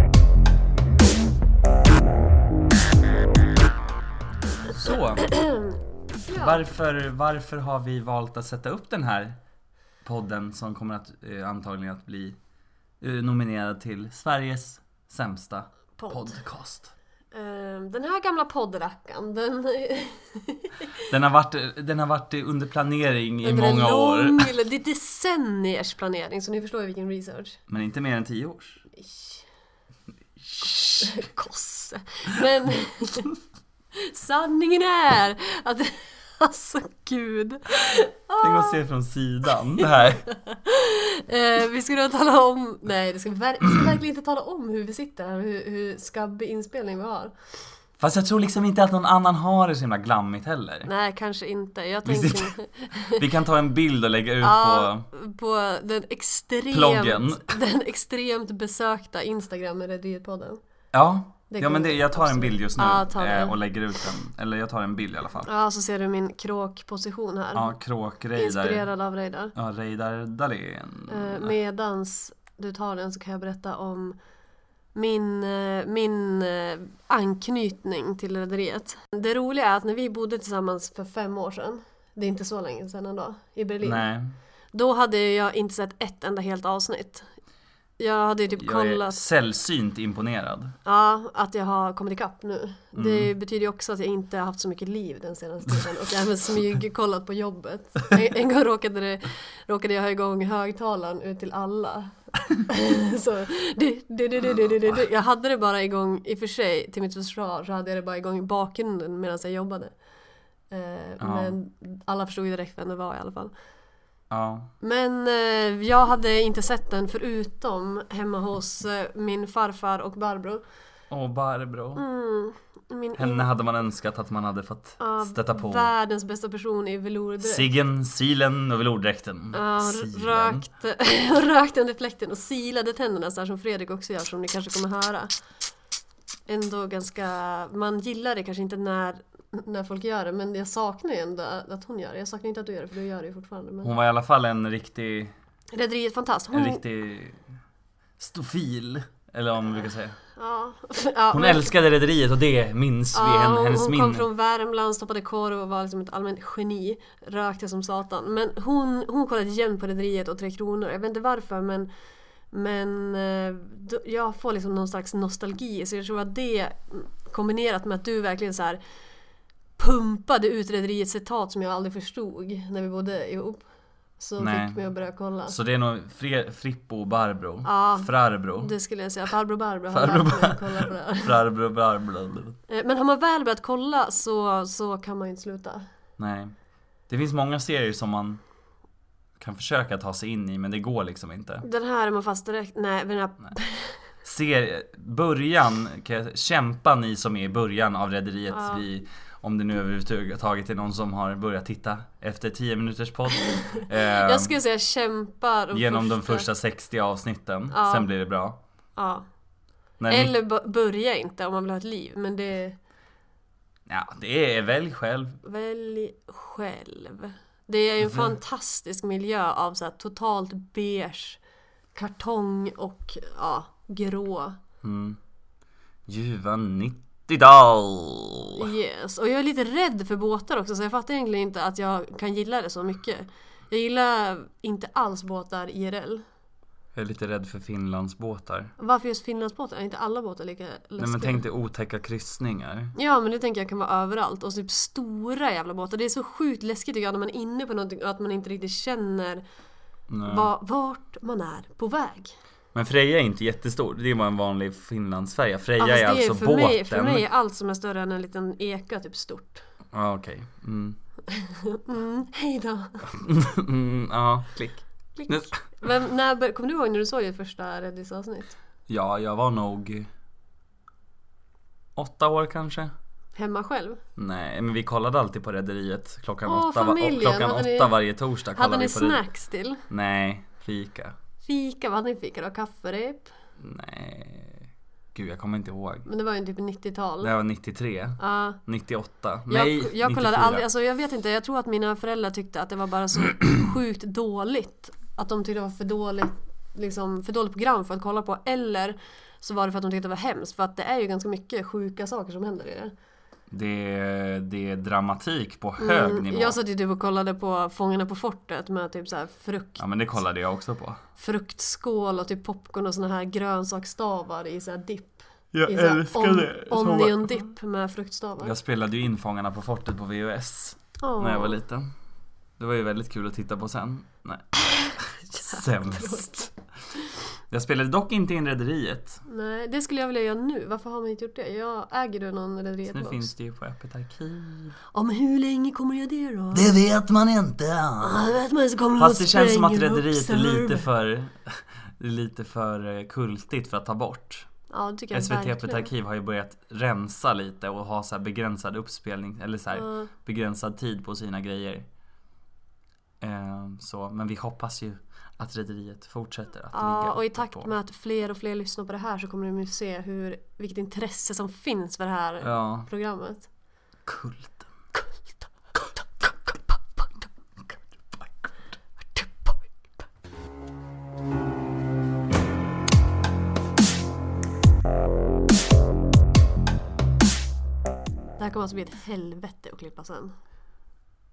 Ja. Varför, varför har vi valt att sätta upp den här podden som kommer att eh, antagligen att bli eh, nominerad till Sveriges sämsta Podd. podcast? Eh, Den här gamla poddrackaren, den Den har varit, eh, den har varit eh, under planering i under en många år. lång, eller det är decenniers planering så ni förstår ju vilken research. Men inte mer än tio års. Ish. Kosse. Men sanningen är att alltså gud. Ah. Tänk att se från sidan det här. Eh, vi ska då tala om, nej det ska vi, ver- vi ska verkligen inte tala om hur vi sitter här och hur, hur skabbig inspelning vi har. Fast jag tror liksom inte att någon annan har det så himla glammigt heller. Nej kanske inte. Jag Vi tänker sitter Vi kan ta en bild och lägga ut Ja, på... på den Ploggen. extremt, den extremt besökta Instagram Rederiet-podden. Ja, Det ja men kommer det, jag tar en absolut. bild just nu Ja, ta eh, det. och lägger ut den. Eller jag tar en bild i alla fall. Ja, så ser du min kråkposition här. Ja, kråk, Reidar. Mm. Inspirerad av Reidar. Ja, Reidar Dahlén. Eh, Medans du tar den så kan jag berätta om min, eh, min eh, anknytning till Rederiet. Det roliga är att när vi bodde tillsammans för fem år sedan, det är inte så länge sedan ändå, i Berlin. Nej, Då hade jag inte sett ett enda helt avsnitt. Jag hade ju typ jag är kollat sällsynt imponerad. Ja, att jag har kommit ikapp nu. Det betyder ju också att jag inte har haft så mycket liv den senaste tiden och även smygkollat på jobbet. En, en gång råkade, det, råkade jag ha igång högtalaren ut till alla. så, du, du, du, du, du, du, du. Jag hade det bara igång, i och för sig till mitt försvar så hade jag det bara igång i bakgrunden medan jag jobbade. Eh, Men alla förstod ju direkt vem det var i alla fall. Ja, Men eh, jag hade inte sett den förutom hemma hos eh, min farfar och Barbro. och Barbro. Mm, min Henne hade man önskat att man hade fått Ja, stöta på. Världens bästa person i velourdräkt. Siggen, silen och velourdräkten. Ja, Silen. rökt, rökt under fläkten och silade tänderna så här som Fredrik också gör som ni kanske kommer höra. Ändå ganska, man gillar det kanske inte när, när folk gör det men jag saknar ju ändå att hon gör det. Jag saknar inte att du gör det för du gör det ju fortfarande. Men... Hon var i alla fall en riktig, Rederiet Fantast, en hon... riktig stofil. Eller vad man brukar säga. Ja, ja, Hon men- älskade Rederiet och det minns vi Ja, hen- hon, hennes hon kom minne. från Värmland, stoppade korv och var liksom ett allmänt geni. Rökte som satan. Men hon, hon kollade jämt på Rederiet och Tre Kronor. Jag vet inte varför men, men eh, då- jag får liksom någon slags nostalgi. Så jag tror att det mm, kombinerat med att du verkligen så här pumpade ut Rederiets citat som jag aldrig förstod när vi bodde ihop. Så Nej. fick mig att börja kolla. Så det är nog Fre- Frippo och Barbro. Ja. Frarbro. Det skulle jag säga. Farbror Barbro har Farbror lärt mig att kolla på det här. Frarbro, Barbro. Eh, Men har man väl börjat kolla så, så kan man ju inte sluta. Nej. Det finns många serier som man kan försöka ta sig in i men det går liksom inte. Den här är man fast direkt... Nej, den här... Ser, början, kan jag, kämpa ni som är i början av Rederiet. Ja. Vi, om det nu överhuvudtaget är någon som har börjat titta efter 10 minuters podd. eh, Jag skulle säga kämpar och genom de första 60 avsnitten. Ja. Sen blir det bra. Ja. När ni- Eller bo- börja inte om man vill ha ett liv. Men det... ja, det är välj själv. Välj själv. Det är Mhm. ju en fantastisk miljö av så här totalt beige kartong och ja, grå. Ljuva 90 dagar. Yes. Och jag är lite rädd för båtar också så jag fattar egentligen inte att jag kan gilla det så mycket. Jag gillar inte alls båtar IRL. Jag är lite rädd för Finlandsbåtar. Varför just Finlandsbåtar? Är inte alla båtar lika läskiga? Nej men tänk dig otäcka kryssningar. Ja men det tänker jag kan vara överallt och typ stora jävla båtar. Det är så sjukt läskigt tycker jag när man är inne på någonting och att man inte riktigt känner Nej. va, vart man är på väg. Men Freja är inte jättestor, det är bara en vanlig Finlandsfärja. Freja Ja, är fast det är alltså för båten. Mig, för mig är allt som är större än en liten eka typ stort. Ja okej. Mm. Mm, hej då. Mm, ja, klick. Klick. Nu- Men när, bör- kom du ihåg när du såg ditt första Reddys avsnitt? Ja, jag var nog åtta år kanske. Hemma själv? Nej, men vi kollade alltid på Rederiet klockan Åh, åtta, va- familjen, och klockan hade ni- åtta varje torsdag. Hade kollade ni vi på Rederiet. snacks till? Nej, fika. Fika? Vad hade ni fika då? Kafferep? Nej. Gud, jag kommer inte ihåg. Men det var ju typ 90-tal. Det här var 93. Ja. 98. Jag, Nej, jag 94. kollade aldrig, alltså jag vet inte, jag tror att mina föräldrar tyckte att det var bara så sjukt dåligt. Att de tyckte det var för dåligt, liksom, för dåligt program för att kolla på. Eller så var det för att de tyckte det var hemskt. För att det är ju ganska mycket sjuka saker som händer i det. Det är, det är dramatik på hög nivå. Mm, Jag satt ju typ och kollade på Fångarna på fortet med typ så här frukt, Ja men det kollade jag också på. fruktskål och typ popcorn och såna här grönsaksstavar i så här dipp. Jag I så här on, onion dip med fruktstavar. Jag spelade ju in Fångarna på fortet på VHS Åh, när jag var liten. Det var ju väldigt kul att titta på sen. Nej. Sämst. Jag spelade dock inte in Rederiet. Nej, det skulle jag vilja göra nu. Varför har man inte gjort det? Jag äger du någon Så Nu Rederiet finns det ju på öppet arkiv. Ja, men hur länge kommer jag det då? vet man inte. Ja, det vet man, så kommer Fast det och känns som att Ah, spränger upp Rederiet är lite server. för lite för eh, kultigt för att ta bort. Ja, det tycker jag SVT Öppet verkligen. Arkiv har ju börjat rensa lite och ha så här begränsad uppspelning eller så här Ja. begränsad tid på sina grejer. Eh, så, men vi hoppas ju att Rederiet fortsätter att Ja, ligga och i uppe takt på. med att fler och fler lyssnar på det här så kommer de ju se hur, vilket intresse som finns för det här Ja, programmet. kulten. Det här kommer alltså bli ett helvete att klippa sen.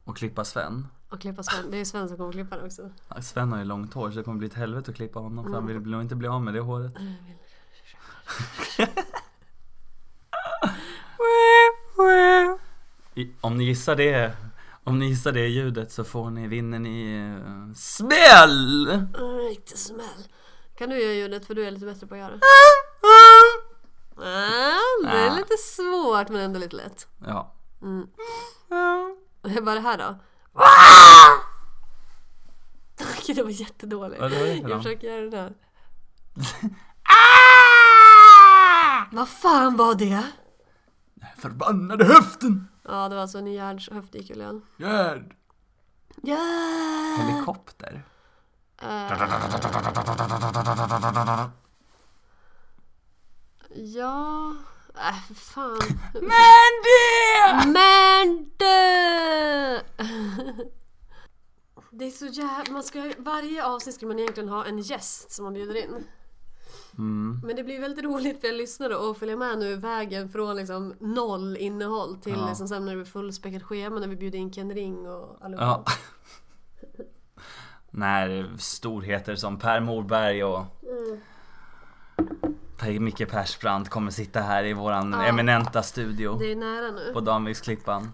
Och klippa Sven. Och klippa Sven. Det är Sven som kommer klippa det också. Ja, Sven har ju långt hår så det kommer bli ett helvete att klippa honom för han vill nog inte bli av med det håret. I- Om ni gissar det, om ni gissar det ljudet så får ni, vinner ni eh, smäll! En riktig smäll. Kan du göra ljudet för du är lite bättre på att göra det? Ah, det är Ah. lite svårt men ändå lite lätt. Ja. Och Vad var det här då? Okej, det var jättedåligt. Vad var det för jag någon? försöker göra det där. Vad fan var det? Förbannade höften! Ja, det var alltså en Gerds höftdikulen. Gerd! Yeah! Helikopter? Eh. Ja... Äh, för fan. Men det! Men du! Det är så jävla... Man ska, varje avsnitt skulle man egentligen ha en gäst som man bjuder in. Mm. Men det blir väldigt roligt för jag lyssnade och följer med nu vägen från liksom noll innehåll till Ja. liksom sen när det blir fullspäckat schema när vi bjuder in Ken Ring och allihopa. Ja. När storheter som Per Morberg och Per Micke Persbrandt kommer sitta här i våran Ja. eminenta studio Det är nära nu. på Danviksklippan.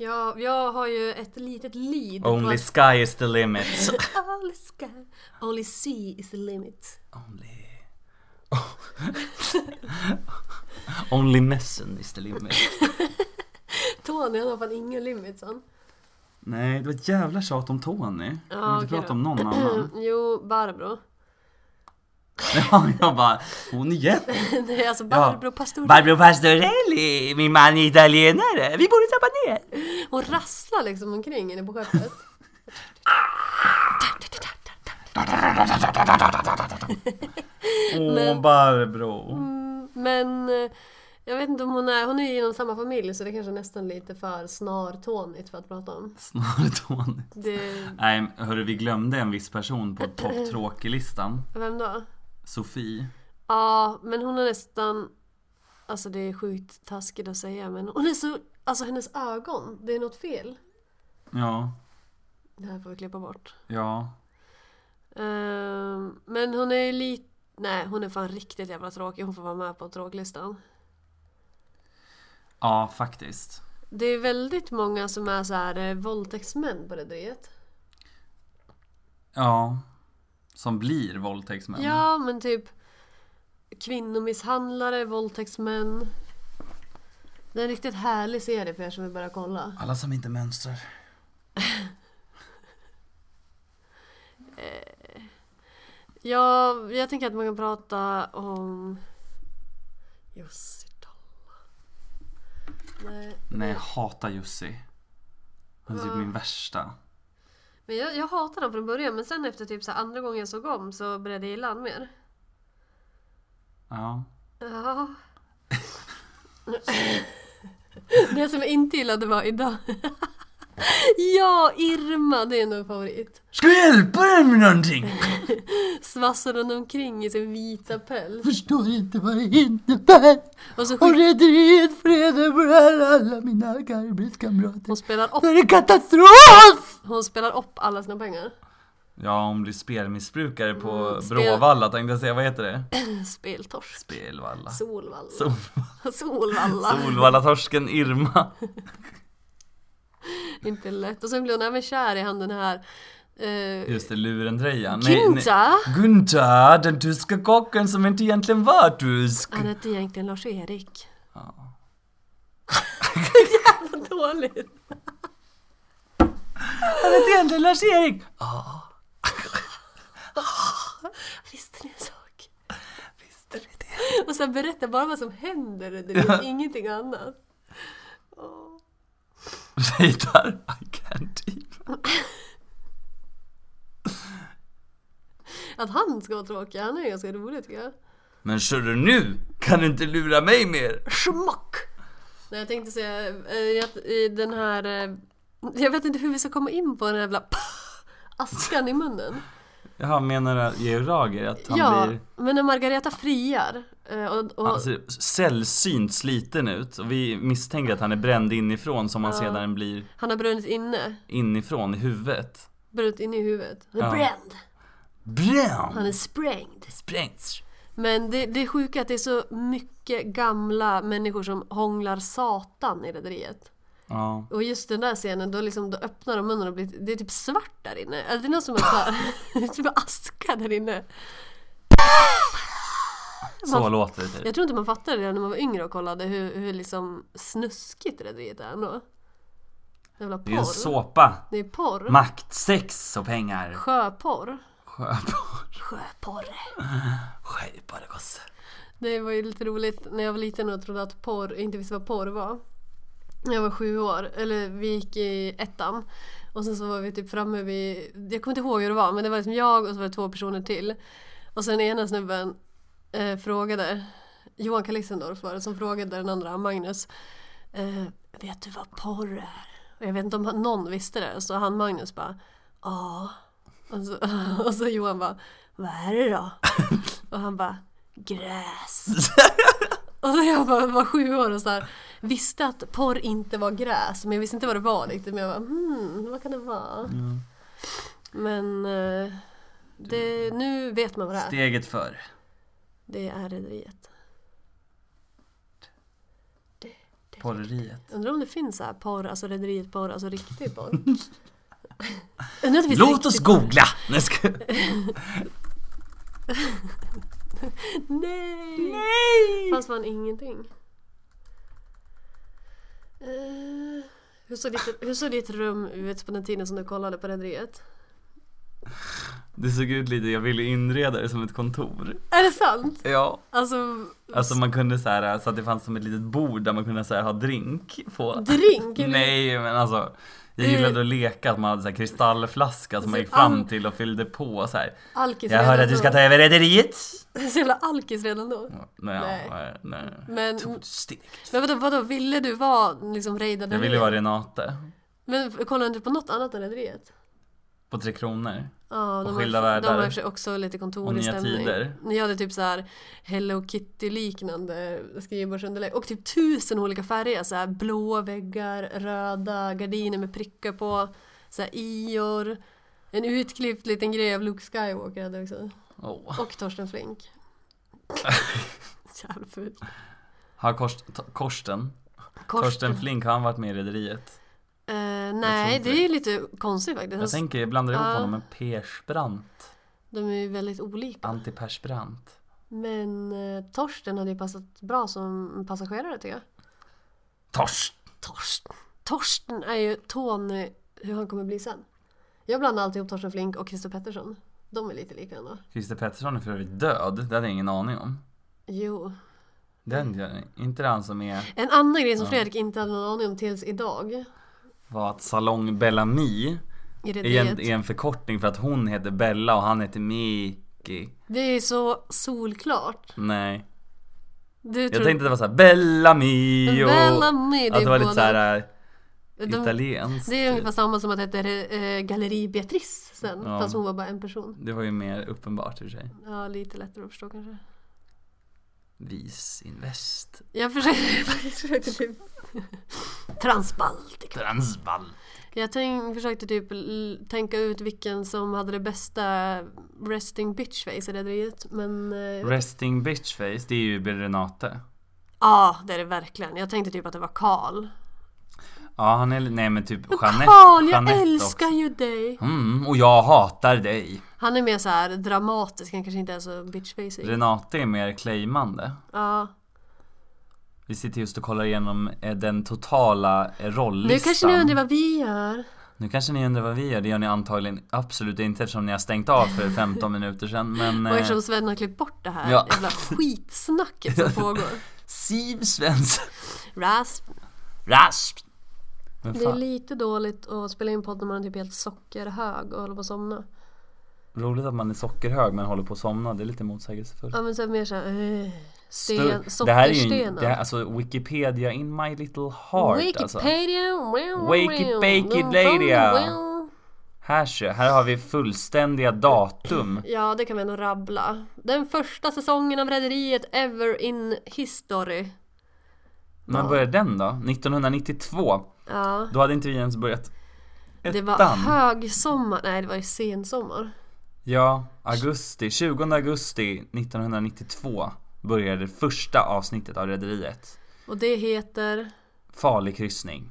Ja, jag har ju ett litet lead. på Only att- sky is the limit. Only sky. Only sea is the limit. Only... Only messen is the limit. Tony han har fan ingen limit han. Nej, det var ett jävla tjat om Tony. Jag Ja, vill inte okej prata då. om någon annan. Jo, Barbro. Ja, jag bara, hon igen. Nej, alltså Barbro Pastor. Barbro Pastorelli, min man är italienare. Vi borde trappa ner. Hon rasslar liksom omkring inne på skeppet. Åh, Barbro. Mm, Men eh, jag vet inte om hon är, hon är ju inom samma familj så det kanske är nästan lite för snartånigt för att prata om. Snarare Tony. Det, Nej, hörru, vi glömde en viss person på topptråkig-listan. vem då? Sofie. Ja, men hon är nästan, alltså det är sjukt taskigt att säga men hon är så, alltså hennes ögon, det är något fel. Ja, Det här får vi klippa bort. ja. Ehm, men hon är ju lite, nej hon är fan riktigt jävla tråkig, hon får vara med på tråklistan. Ja, faktiskt. Det är väldigt många som är så här eh, våldtäktsmän på rederiet. Ja. Som blir våldtäktsmän. Ja, men typ kvinnomisshandlare, våldtäktsmän. Det är en riktigt härlig serie för er som vill börja kolla. Alla som inte mönstrar. Ja, jag tänker att man kan prata om Jussi Tolla. Nej, Nej, jag hatar Jussi. Han är typ min värsta. men jag, jag hatade den från början men sen efter typ så här andra gången jag såg om så började jag gilla honom mer. Ja. Ja. Det som jag inte gillade var idag. Ja, Irma, det är nog favorit. Ska jag hjälpa dig med någonting? Svassar hon omkring i sin vita päls. Förstår inte vad det innebär. Och så Och skick- rädderi ett freden för alla mina arbetskamrater. hon spelar upp, Det är katastrof! hon spelar upp alla sina pengar. Ja, hon blir spelmissbrukare på Mm, spel- Bråvalla tänkte jag säga, vad heter det? Speltorsk. Spelvalla. Solvalla. Sol... Solvalla. Solvallatorsken Irma. Inte lätt. Och sen blir hon även kär i han den här... Eh, Just det, luren-tröjan. Günther. Günther, den tyska kocken som inte egentligen var tysk. Han hette egentligen Lars-Erik. Ja. Vad dåligt. Han hette egentligen Lars-Erik. Visste ni en sak? Visste ni det? Och sen berätta bara vad som händer. Det är ingenting annat. Åh. Reidar, I can't even. Att han ska vara tråkig, han är ganska rolig tycker jag. Men kör du nu kan du inte lura mig mer. Schmock! Nej, jag tänkte säga eh, att i den här... eh, Jag vet inte hur vi ska komma in på den här jävla askan i munnen. Jaha, menar du Georg Rager att han ja, blir Alltså- men när Margareta friar eh, och, och han ser sällsynt sliten ut? Och vi misstänker att han är bränd inifrån som han sedan blir han har brunnit inne, inifrån i huvudet. brunnit inne i huvudet. Han är Ja. bränd, han Bränd! är sprängd. Sprängt! Men det, det är sjuka är att det är så mycket gamla människor som hånglar satan i rederiet. Ja. Och just den där scenen, då, liksom, då öppnar de munnen och blir, det är typ svart där inne. Eller det är någon som är såhär, det är typ aska där inne. Så Man- låter det typ. Jag tror inte man fattade det när man var yngre och kollade hur, hur liksom snuskigt rederiet är ändå. Jävla porr. Det är ju en såpa. Det är porr. Makt, sex och pengar. Sjöporr. Sjöporr. Sjöporr. Sjöporr gosse. Det var ju lite roligt när jag var liten och trodde att porr, inte visste vad porr var. När Jag var sju år, eller vi gick i ettan. Och sen så var vi typ framme vid, jag kommer inte ihåg hur det var, men det var liksom jag och så var det två personer till. Och sen ena snubben eh, frågade, Johan Kalissendorf var det som frågade den andra, Magnus. Eh, vet du vad porr är? Och jag vet inte om han- någon visste det, så han Magnus bara, ja. Och så, och så Johan bara, vad är det då? Och han bara gräs. och så jag bara, var sju år och så här, visste att porr inte var gräs men jag visste inte vad det var riktigt men jag bara hmm, vad kan det vara? Mm. Men eh, det, nu vet man vad det är. Steget för. Det är rederiet. Porreriet. Undrar om det finns så här porr, alltså rederiet porr, alltså riktig porr. Undrar om det finns Låt oss riktig- googla! Nej, ska... Nej! Nej! Fanns fan ingenting. Eh, hur, såg ditt, hur såg ditt rum ut på den tiden som du kollade på rederiet? Det såg ut lite, jag ville inreda det som ett kontor. Är det sant? Ja. Alltså, Alltså man kunde så här, så att det fanns som ett litet bord där man kunde så här ha drink på. drink? eller? Nej men alltså. Jag Eh. gillade att leka att man hade så här kristallflaska som man Alltså, gick fram all- till och fyllde på så här. Alkis Jag hörde att du ska ta över rederiet. Så jävla alkis redan då. Ja, Nej. Nej. ja, Nej. Men, Tog ett steg. men vadå, vadå, ville du vara liksom raidad Jag ville vara Renate. Men kollade du inte på något annat än rederiet? På Tre Kronor. Ja, de, har, Skilda de Världar. har i och för sig också lite Och kontorig Nya stämning. Tider. Ni hade typ så här Hello Kitty-liknande skrivbordsunderlägg och typ tusen olika färger. Så här blåa väggar, röda gardiner med prickar på, så här ior. En utklippt liten grej av Luke Skywalker hade jag också. Åh. Och Torsten Flink. Jävla fult. Har Korst, T- Korsten, Korsten Flink, har han varit med i Rederiet? Eh, Jag nej, tror inte det är lite konstigt faktiskt. Jag tänker, jag blandar ihop Ja. honom med Persbrandt. De är ju väldigt olika. Anti Persbrandt. Men eh, Torsten hade ju passat bra som passagerare tycker jag. Torst! Torsten. Torsten är ju Tony, hur han kommer bli sen. Jag blandar alltid ihop Torsten Flink och Christer Pettersson. De är lite lika ändå. Christer Pettersson är för övrigt död, det hade jag ingen aning om. Jo. Den, gör- inte det han som är, En annan grej som Ja. Fredrik inte hade någon aning om tills idag. var att Salong Bellamy I är en, rederiet. är en förkortning för att hon heter Bella och han heter Miki. Det är ju så solklart. Nej. Du Jag tror... tänkte det var såhär Bellamy och... Bellamy, det Att det var är lite eh, båda. såhär De, Italienskt. det är ungefär samma som att heta eh, Galleri Beatrice sen, Ja. fast hon var bara en person. Det var ju mer uppenbart i och för sig. Ja, lite lättare att förstå kanske. Vis Invest. Jag försökte faktiskt försökte typ Transbaltica. Transvall. Jag tänk, försökte typ l- tänka ut vilken som hade det bästa resting bitch face i rederiet men... eh, Resting bitch face, det är ju Berenate. Ja, det är det verkligen. Jag tänkte typ att det var Karl. Ja, han är... Nej men typ Jeanette. Karl, jag Jeanette älskar också. ju dig! Mm, och jag hatar dig. Han är mer så här dramatisk, han kanske inte är så bitch facey. Renate är mer claimande. Ja. Vi sitter just och kollar igenom eh, den totala eh, rollistan. Nu kanske ni undrar vad vi gör. Nu kanske ni undrar vad vi gör. Det gör ni antagligen absolut inte eftersom ni har stängt av för 15 minuter sedan. Men Och eh, eftersom Sven har klippt bort det här Ja. jävla skitsnacket som pågår. Siv Svensson. Rasp. Rasp. Men Det är fan, lite dåligt att spela in podd när man är typ helt sockerhög och håller på att somna. roligt att man är sockerhög men håller på att somna. Det är lite motsägelsefullt. Ja men så är det mer såhär... Uh, sten, Stor- det här är ju en- sockerstenen. det här, alltså Wikipedia in my little heart alltså. Wikipedia. Wikipedia. Här ser, här har vi fullständiga datum. Ja, det kan vi ändå rabbla. Den första säsongen av Rederiet ever in history. När Ja. började den då? 1992. Ja. Då hade inte vi ens börjat ettan. Det var högsommar. Nej, det var ju sensommar. Ja, augusti, 20 augusti 1992 började det första avsnittet av Rederiet. Och det heter... Farlig kryssning.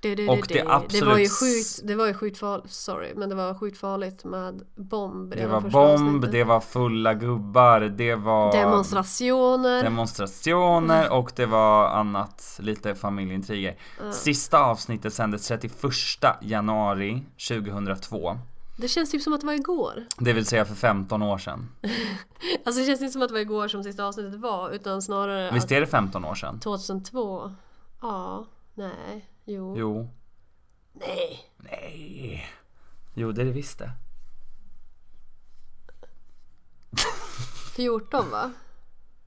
Du, du, du, Och det du. absolut var ju s- sjukt, det var ju sjukt farligt, sorry, men det var sjukt farligt med bomb Det redan var första bomb, avsnittet. det var fulla gubbar, det var demonstrationer. demonstrationer och det var annat, lite familjeintriger. Sista avsnittet sändes 31 januari 2002. det känns typ som att det var igår. Det vill säga för 15 år sedan. Alltså det känns inte som att det var igår som sista avsnittet var, utan snarare Visst att är det 15 år sedan? 2002. Ja, nej, jo. Jo. Nej. Nej. Jo, det är det visst det. 14 va?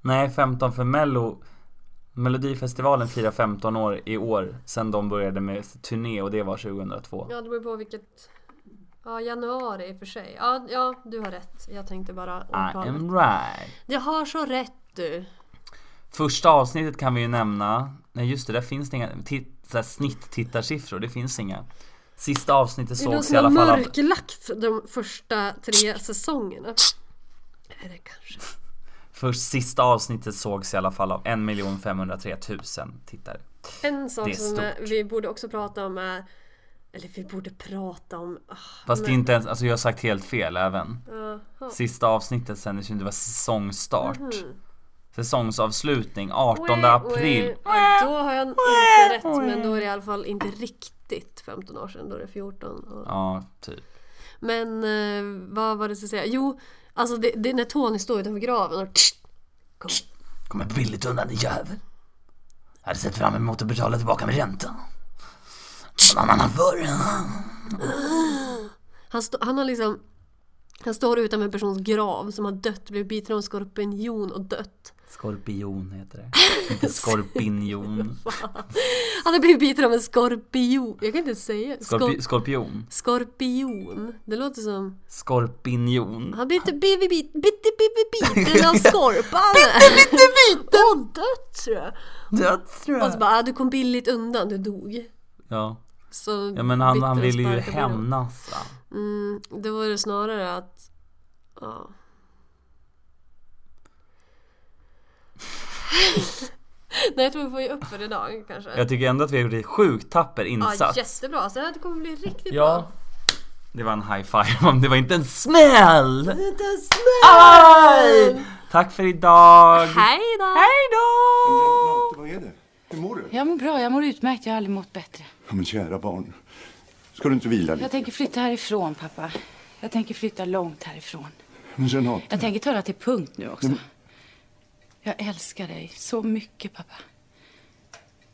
Nej, 15 för Mello Melodifestivalen firar 15 år i år sedan de började med sin turné och det var 2002. Ja, det beror på vilket... Ja, januari i och för sig. Ja, ja, du har rätt. Jag tänkte bara I årtalet. am right. Jag har så rätt du. Första avsnittet kan vi ju nämna. Nej just det, där finns det inga titt, så här snitttittarsiffror. Det finns inga. Sista avsnittet Det är någon sågs i som har alla fall av, mörklagt de första tre säsongerna. Är det kanske? Först sista avsnittet sågs i alla fall av 1 503 000 tittare. En Det är sak som eh, stort. vi borde också prata om är... Eller vi borde prata om... ah, Fast det är men- inte ens, alltså jag har sagt helt fel även. Jaha. Sista avsnittet sändes ju, det var säsongstart. Mm. Säsongsavslutning 18 Oj, april. oj. Ja, Då har jag inte rätt, men då är det i alla fall inte riktigt 15 år sedan, då är det 14. Och... Ja, typ. Men eh, vad var det jag skulle säga? Jo, alltså det, det är när Tony står utanför graven och tsch, kom. Kommer billigt undan din jävel. Jag hade sett fram emot att betala tillbaka med ränta. Någon annan förr. han, stå, han har liksom han står utanför en persons grav som har dött, blivit biten av en skorpion och dött. Skorpion heter det. Inte skorpinjon. Han har blivit biten av en skorpion. Jag kan inte säga. Skorpi- Skor, skorpion. skorpion. Det låter som... Skorpinjon. Han blir inte blivit bit- bit- bit- bit- biten av skorpan. Bitte, bitte, biten! Och dött tror jag. Och så bara, ah, du kom billigt undan, du dog. Ja. Så ja, men han, bitter och han ville ju sparkade på honom. hämnas. va? Mm, det var det snarare att... Ja. Nej, jag tror vi får ge upp för idag kanske. Jag tycker ändå att vi har gjort en sjukt tapper ja, insats. jättebra. Så det här kommer bli riktigt Ja. bra. Det var en high five om det var inte en smäll! Lite Aj! Tack för idag! Hej då! Hej då! Renate, vad är det? Hur mår du? Jag mår bra, jag mår utmärkt. Jag har aldrig mått bättre. Ja, men kära barn, ska du inte vila Jag lite? tänker flytta härifrån, pappa. Jag tänker flytta långt härifrån. Men Renate, Jag tänker ta det till punkt nu också. Jag älskar dig så mycket, pappa.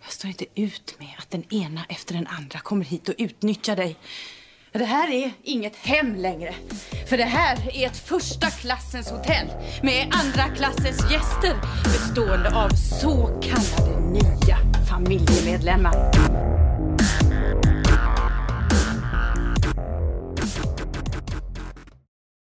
Jag står inte ut med att den ena efter den andra kommer hit och utnyttjar dig. Det här är inget hem längre. För det här är ett första klassens hotell med andra klassens gäster bestående av så kallade nya familjemedlemmar.